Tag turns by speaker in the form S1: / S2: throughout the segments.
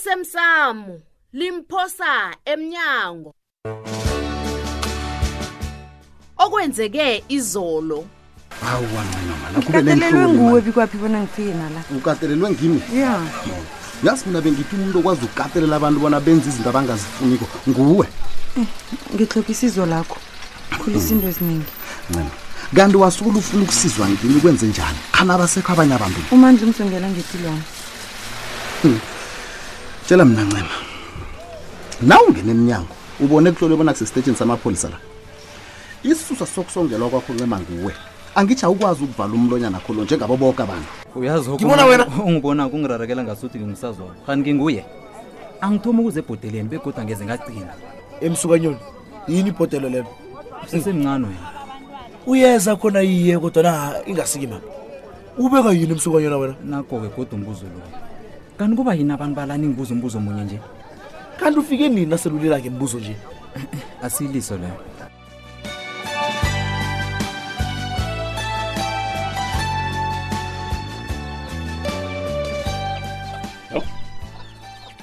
S1: osemsamo limphosa emnyango okwenzeke izolo
S2: katelelwe nguwe
S3: awuwancanyamalakubelenhloni
S2: bikwaphi bona ngifike nala
S3: ukatelelwe ngimi
S2: ya
S3: yazi mina bengithi umuntu okwazi ukukatelela abantu bona benze izinto abangazifuniko nguwe
S2: ngihloka isizo lakho khulisa into eziningi
S3: ncema kanti wasukula ufuna ukusizwa ngimi kwenze njani khana abasekho abanye abantu
S2: umandla umsongela ngepilwana
S3: tshela mina ncema naw ungena emnyango ubone kuhlolwe bona kusesitejini samapholisa la isisusa sokusongelwa kwakho ncema nguwe angitsho awukwazi ukuvala umlonyanakho lo njengabo boke abantu
S4: uyazi
S3: Ngibona wena.
S4: ungibona kungirarekela ngasuthi ngingisazona kanti nginguye angithoma ukuze ebhodeleni begoda ngeze ngacina
S5: emsukanyoni yini ibhodelo lelo
S4: usesemncane wena
S5: uyeza khona iye kodwa na ingasiki mama ubeka yini emsukanyona wena
S4: nakho-ke goda umbuzo loyo kanti kuba yini abantu balani ngibuza umbuzo munye nje
S5: kanti ufike nini naselulelake mbuzo nje
S4: asiyiliso leyo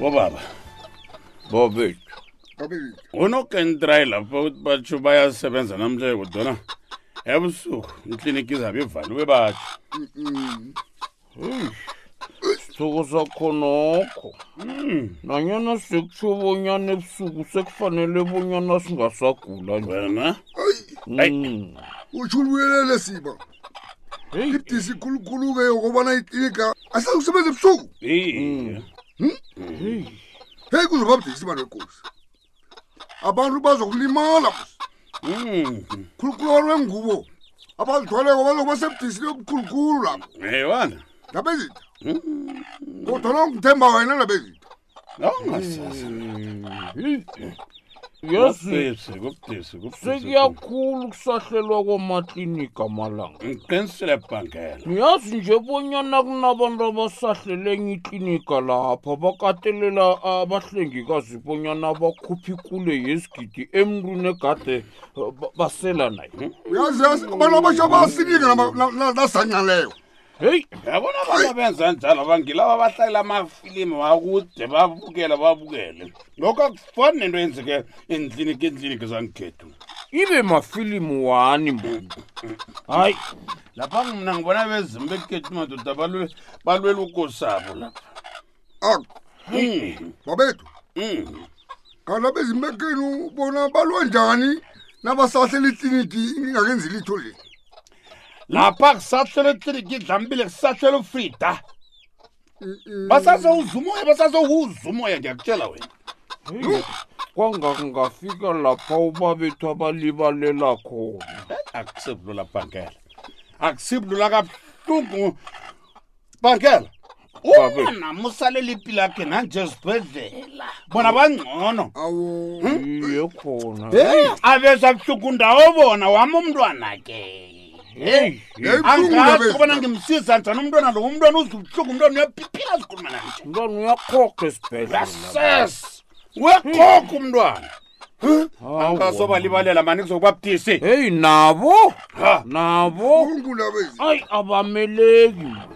S6: bobaba bobethu unokentrayi lapha ukuthi batsho bayasebenza namhlanje kodwana ebusuku ikliniki izabe ivaliwe batsho Eish,
S7: isithuko sakho nokho
S6: mm,
S7: nanyana sekutsho bonyana ebusuku sekufanele bonyana singasagula nje
S6: wena
S7: Mm.
S8: utsho ulibuyelele siba
S7: Hey.
S8: ibudisi khulukhulu-ke yokobana iklinika asakusebenza ebusuku
S6: iye
S8: heyi kuzoba budisi bani wekosi abantu bazokulimala bos
S6: Mm,
S8: khulukhulu abantu bengubo abazithwaleko bazokuba sebudisini obukhulukhulu lapho
S6: eyewana
S8: ndaba ezitha kodwana ungithemba wena ndaba ezitha
S7: yesi
S6: kubudisi kubudisi
S7: sekuyakhulu kusahlelwa kwamaklinika amalanga
S6: ngiqinisile bhangela
S7: niyazi nje bonyana kunabantu abasahlele enye iklinika lapha bakatelela abahlengikazi bonyana bakhuphe ikule yesigidi emntwini egade eh, ba- basela naye
S8: uyazi yazi abantu abasha basiningi nasanqaleyo
S7: heyi
S6: yabona abantu abenza njalo bangilaba abahlalela amafilimu wakude babukele babukele lokho akufani nento yenzeke endliniki endliniki zangikhethu
S7: ibe mafilimu wani mbona hayi
S6: lapha mna ngibona bezimu bekhethu madoda balwe- balwela ukosabo lapha
S8: ak
S6: Mm,
S8: babethu
S6: mm.
S8: kanti abezimbekenu bona balwa njani nabasahlela ikliniki ingakenzi litho le
S6: lapha kusahlela ekliniki idlambile kusahlela ufrida basazowuzumoya basazowuzumoya ngiyakutshela wena
S7: Hey, kwangakungafika lapha ubabethu abalibalela khona
S6: akusibulula bhangela akusibulula kabuhlungu bhangela
S7: Babe.
S6: unama usalela impilo yakhe nanje esibhedlela bona bangcono
S8: awo
S7: iye khona
S6: abeza buhlungu ndawo bona wami umntwana ke
S7: Hey, hey,
S8: buhlungu
S6: angazi
S8: nabeza.
S6: kubana ngimsiza njani umntwana lo umntwana uzibuhlungu umntwana uyaphiphila zikhuluma nanje
S7: mntwana uyakhokha esibhedlela
S6: yasesa wekhokha umntwana
S7: Hawu.
S6: angasobalibalela mani kuzokuba budisi
S7: heyi nabo
S6: Ha.
S7: nabo
S8: ungu nabezi
S7: ayi abameleki man.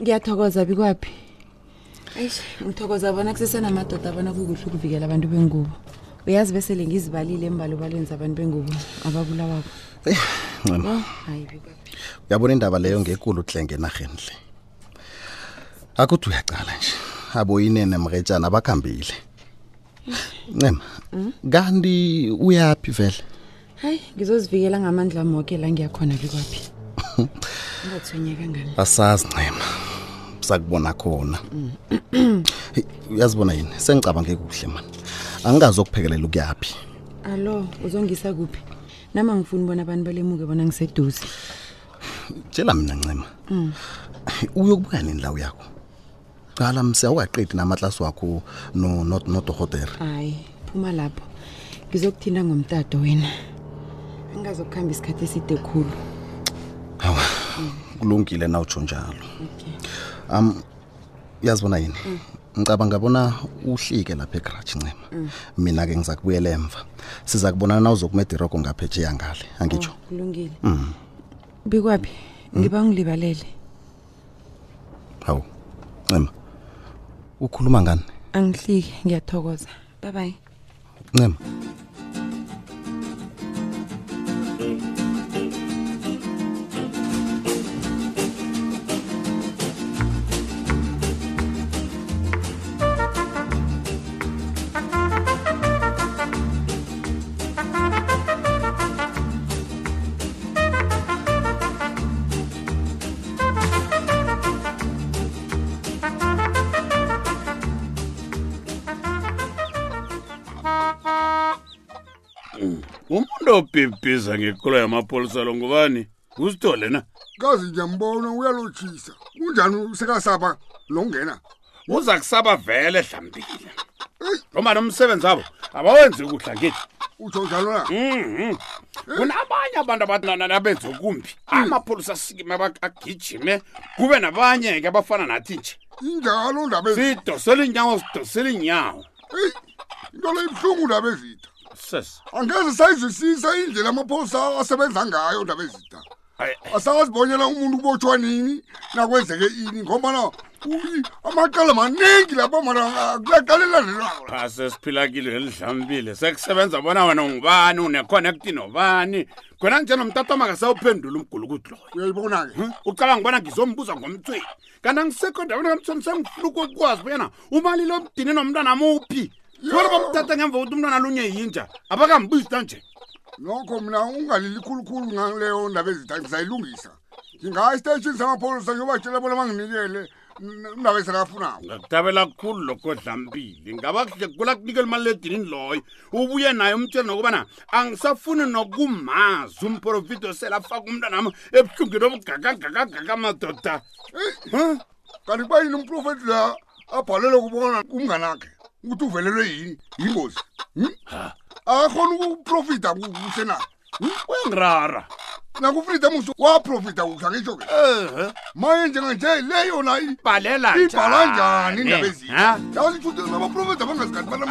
S2: ngiyathokoza bikwaphi eish ngithokoza bona kusesenamadoda abona kukuhle ukuvikela abantu bengubo uyazi besele ngizibalile embalobalweni zabantu bengubo ababulawako
S3: ncema
S2: oh hayi bikwaphi
S3: uyabona indaba leyo ngekulu hlenge enarhenhle akuthi uyacala nje aboyinene mretshana bakhambile ncema kanti uyaphi vele
S2: hayi ngizozivikela ngamandla ami woke la ngiyakhona bikwaphi ungathonyeka ngami
S3: asazi ncema sakubona khona Hey, uyazibona yini sengicabange kuhle mani angikazi ukuphekelela ukuyaphi
S2: allo uzongisa kuphi nama ngifuna ubona abantu balemuke bona ngiseduze
S3: tshela mina ncema uyokubuka nini lawo yakho cala mse awungaqedi namatlasi wakho no- no- nodorhotere
S2: hayi phuma lapho ngizokuthinta ngomtato wena angazokuhamba isikhathi eside khulu
S3: hawa kulungile na utsho njalo um yazibona yini ngicabanga bona uhlike lapha egraji ncema mina-ke ngiza kubuyela emva siza kubonana na uzokumedirogo ngaphetsheya ngale angitsho
S2: Oh, kulungile bikwaphi ngiba ungilibalele
S3: hawu ncema ukhuluma ngani
S2: angihliki ngiyathokoza babayi
S3: ncema
S6: umuntu obhibhiza ngekolo yamapolisa lo ngubani usithole na
S8: kazi ngiyambona uyalotshisa kunjani sekasaba longena
S6: uza kusaba vele hlambile lomani umsebenzi abo abawenzi kuhle angithi
S8: utsho njalo na Eh?
S6: Mhm. kunabanye abantu abatnanabenza kumbi
S8: Hmm.
S6: amapolisa asikime bak- agijime kube nabanye ke abafana nathi nje
S8: injalo ndaba ezi-
S6: sidosele iinyawo sidosele iinyawo
S8: eyi into le ibuhlungu ndaba ezitha
S6: sesi
S8: angeze sayizwisisa indlela amaphosa asebenza ngayo ndaba ezitha asazibonyela umuntu kubotshwa nini nakwenzeke ini ngombana uyi- amaqala maningi lapho mana akuyaqalelanilawo
S6: pha sesiphilakile elidlambile sekusebenza bona wena ungubani uneconnecti nobani khona nje nomtatama kasawuphendula umgulukudu loyo
S8: uyayibona-ke
S6: ucabanga ubona Hmm? ngizombuza ngomthweni kanti angisekhondabona kamthweni sengifuna ukukwazi bonyana umalile omdini nomntwana muphi khona bamthatha ngemva kokuthi umntwana lunye yinja abakambuzi tanje
S8: nokho mina ungalili khulukhulu ngaleyo ndaba ezitha ngizayilungisa ngingaya esiteshini samapholisa ngiyobatshela bona banginikele n- ndaba ezirafunako
S6: ngakuthabela kukhulu lokho dlambili ngaba kuhle kula kunikela umaliledinini loyo ubuye naye umtshela nokubana angisafuni nokumazi umprofito selafaka umntwanami ebuhlungeni obugagagagagaga madoda Huh?
S8: kanti kuba yini umprofeti la abhalelwe kubona kumnganakhe ukuthi uvelelwe yini yingozi hmm? akakhona ukuprofita ku- kuhle na
S6: uyangirara
S8: nakufrida muso waprofita kuhle angitsho ke
S6: Ehhe.
S8: maye njenganje le yona i-
S6: bhalela
S8: ibhala njani indaba
S6: Eh, Ha?
S8: ezinye yazi futhi abaprofeti abangazikati bana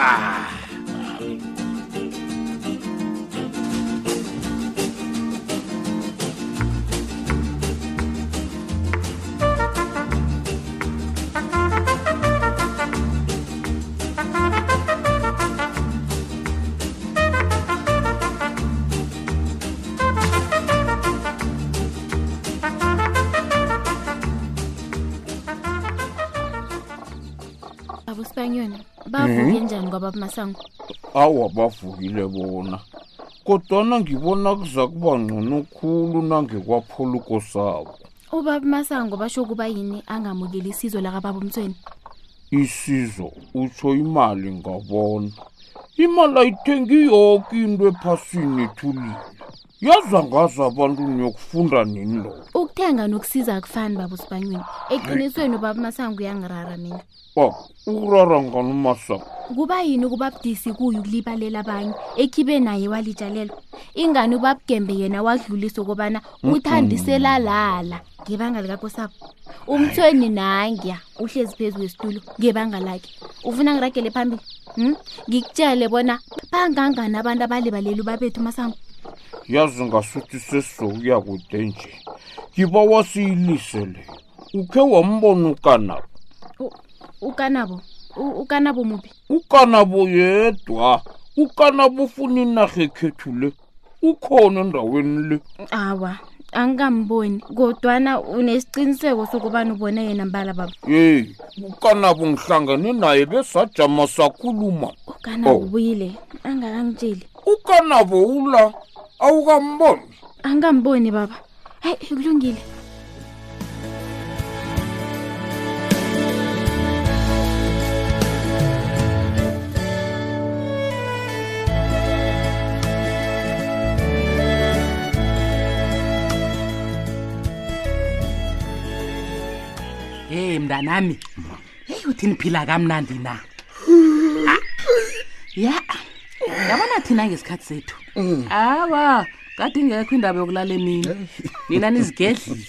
S9: abo sibanyoni bavuke njani kwababa masango
S7: awa bavukile bona kodwana ngibona kuza kuba ngcono khulu nangekwaphola ukosabo
S9: ubaba masango basho ukuba yini angamukeli isizo lakababa umthweni
S7: isizo utsho imali ngabona imali ayithengi yoke into ephasini ethulile yaza ngazi abantu niyokufunda nini lokho
S9: ukuthenga nokusiza akufani baba usibanyoni eqinisweni ubaba masango uyangirara mina
S7: a urara ngani umasako
S9: kuba yini ukuba budisi kuye ukulibalela abanye ekhibe naye walitshalela ingane uba bugembe yena wadlulisa ukubana uthandisela lala ngebanga likakosabo umthweni nangiya uhlezi phezu kwesitulo ngebanga lakhe ufuna ngiragele phambili um ngikutshele bona bangangani abantu abalibalela ubabethu masango
S7: yazi ngasuthi sesizokuya kude nje ngiba wasiyilise le ukhe wambona ukanabo
S9: U- ukanabo U- ukanabo muphi
S7: ukanabo yedwa ukanabo ufuna inarha ekhethu le ukhona endaweni le
S9: awa angingamboni kodwana unesiqiniseko sokubana ubone yena mbala baba
S7: yeyi ukanabo ngihlangane naye besajama sakhuluma
S9: ukanabo
S7: Oh.
S9: ubuyile angakangitsheli
S7: ukanabo ula awukamboni
S9: angamboni baba hayi kulungile
S7: heyi Eh, mntanami heyi uthini phila kamnandi na Ah, ya yabona thina ngesikhathi sethu awa kade ingekho indaba yokulala emini nina nizigedlile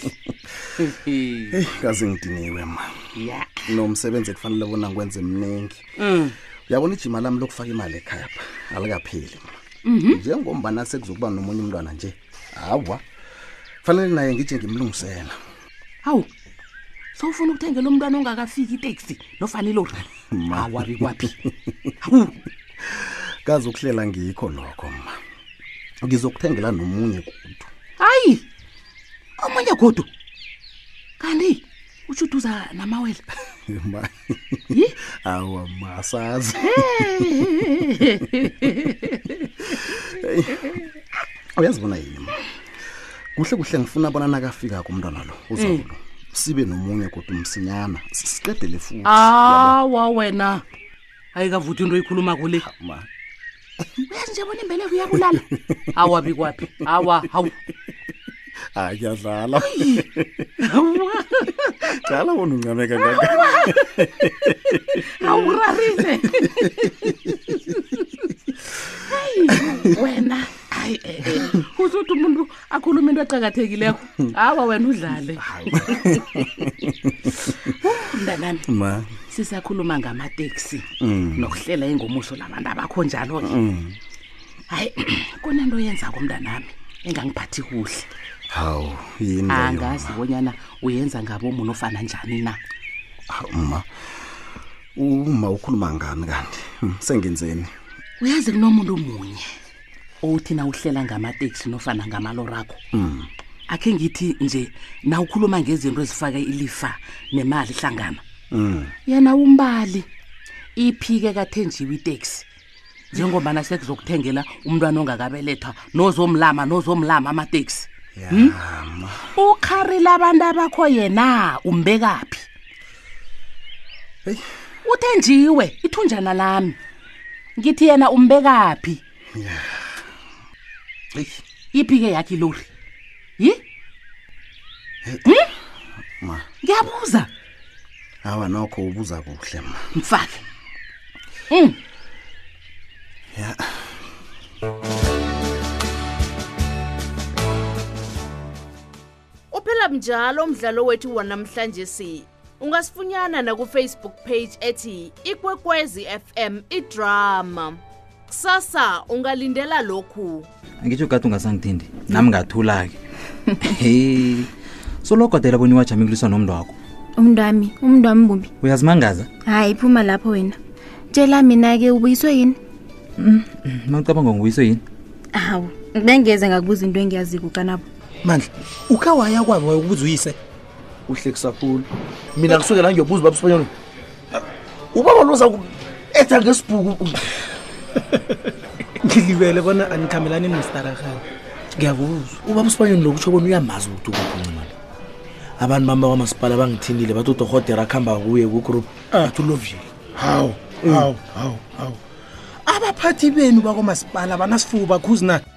S3: eyi kazi ngidiniwe ma
S7: ya
S3: nomsebenzi ekufanele bona ngwenze mningi
S7: Mm.
S3: uyabona ijima lami lokufaka imali ekhaya pha alikapheli njengombana sekuzokuba nomunye umntwana nje hawa fanele naye ngije ngimlungisela
S7: hawu sowufuna ukuthengela umntwana ongakafiki iteksi nofana ilori awabi kwaphi hawu
S3: kazi ukuhlela ngikho lokho ma ngizokuthengela nomunye kudu
S7: hayi omunye godu kanti ushuduza namawela
S3: ma awa ma asazi Hey, uyazibona yini ma kuhle kuhle ngifuna bona nakafika kumntwana lo
S7: Eh.
S3: uzakulo sibe nomunye kodwa umsinyana si- siqedele futhi
S7: Ah. awa wena ayikavuthi into oyikhuluma kule uyazi nje bona imbeleko iyabulala awabi kwaphi awa hawu
S3: akuyadlala cala wona uncame kangaka
S7: awurarise hayi wena hayi eh, eh. usuthi umuntu akhuluma into eqakathekileko awa wena udlale Wu, mntanami
S3: ma
S7: sisakhuluma ngamateksi
S3: Mm.
S7: nokuhlela ingomuso labantu abakho njalo-ke hayi kunento yenzako mntanami engangiphathi kuhle
S3: hawu yini leyo,
S7: angazi bonyana uyenza ngabomuno ofana njani na
S3: Hawu, ma uma ukhuluma ngani kanti Hmm, sengenzeni
S7: uyazi kunomuntu munye othi na uhlela ngamateksi nofana ngamalori akho
S3: Mm.
S7: akhe ngithi nje na ukhuluma ngezinto ezifake ilifa nemali hlangana
S3: Mm.
S7: yena umbali iphike kathenjiwe iteksi njengobana sekuzokuthengela umntwana ongakabelethwa nozomlama nozomlama amateksi Hmm? ukharila abantu abakho yena umbekaphi uthenjiwe ithunjana lami ngithi yena umbekaphi
S3: Eish.
S7: iphike yakhe ilori yi Hmm?
S3: Ma.
S7: ngiyabuza
S3: awa nokho ubuza kuhle ma
S7: mfake um
S3: ya
S9: uphela njalo umdlalo wethu wanamhlanje si ungasifunyana na ku Facebook page ethi ikwekwezi fm idrama kusasa ungalindela lokhu
S4: angitsho kade ungasangithindi nami ngathula-ke hey sologodela bona iwajamikulisa nomntu wakho
S8: umntwami umntwami bumbi
S4: uyazimangaza
S8: hayi phuma lapho wena tshela mina-ke ubuyiswe yini
S7: Mm.
S4: maucabanga ngubuyiso yini
S8: hawu bengeze ngakubuza into engiyaziko kanabo
S5: mandla ukhe waya kwabo wayekubuza uyise uhle kusakhulu mina ngisukela ngiyobuza ubaba sibanyoni ubaba loza etha ngesibhuku
S10: ngilibele bona anikhambelani nestaragana ngiyakuzwa
S5: ubaba sibanyoni lokutsho bona uyamazi ukuthi ukukhulumana abantu bamba kwamasipala bangithindile bathi udorhotera akuhamba kuye kugroup athi ulovile
S10: hawu
S5: Mm.
S10: hawu hawu hawu abaphathi benu bakomasipala banasifuba khuzi na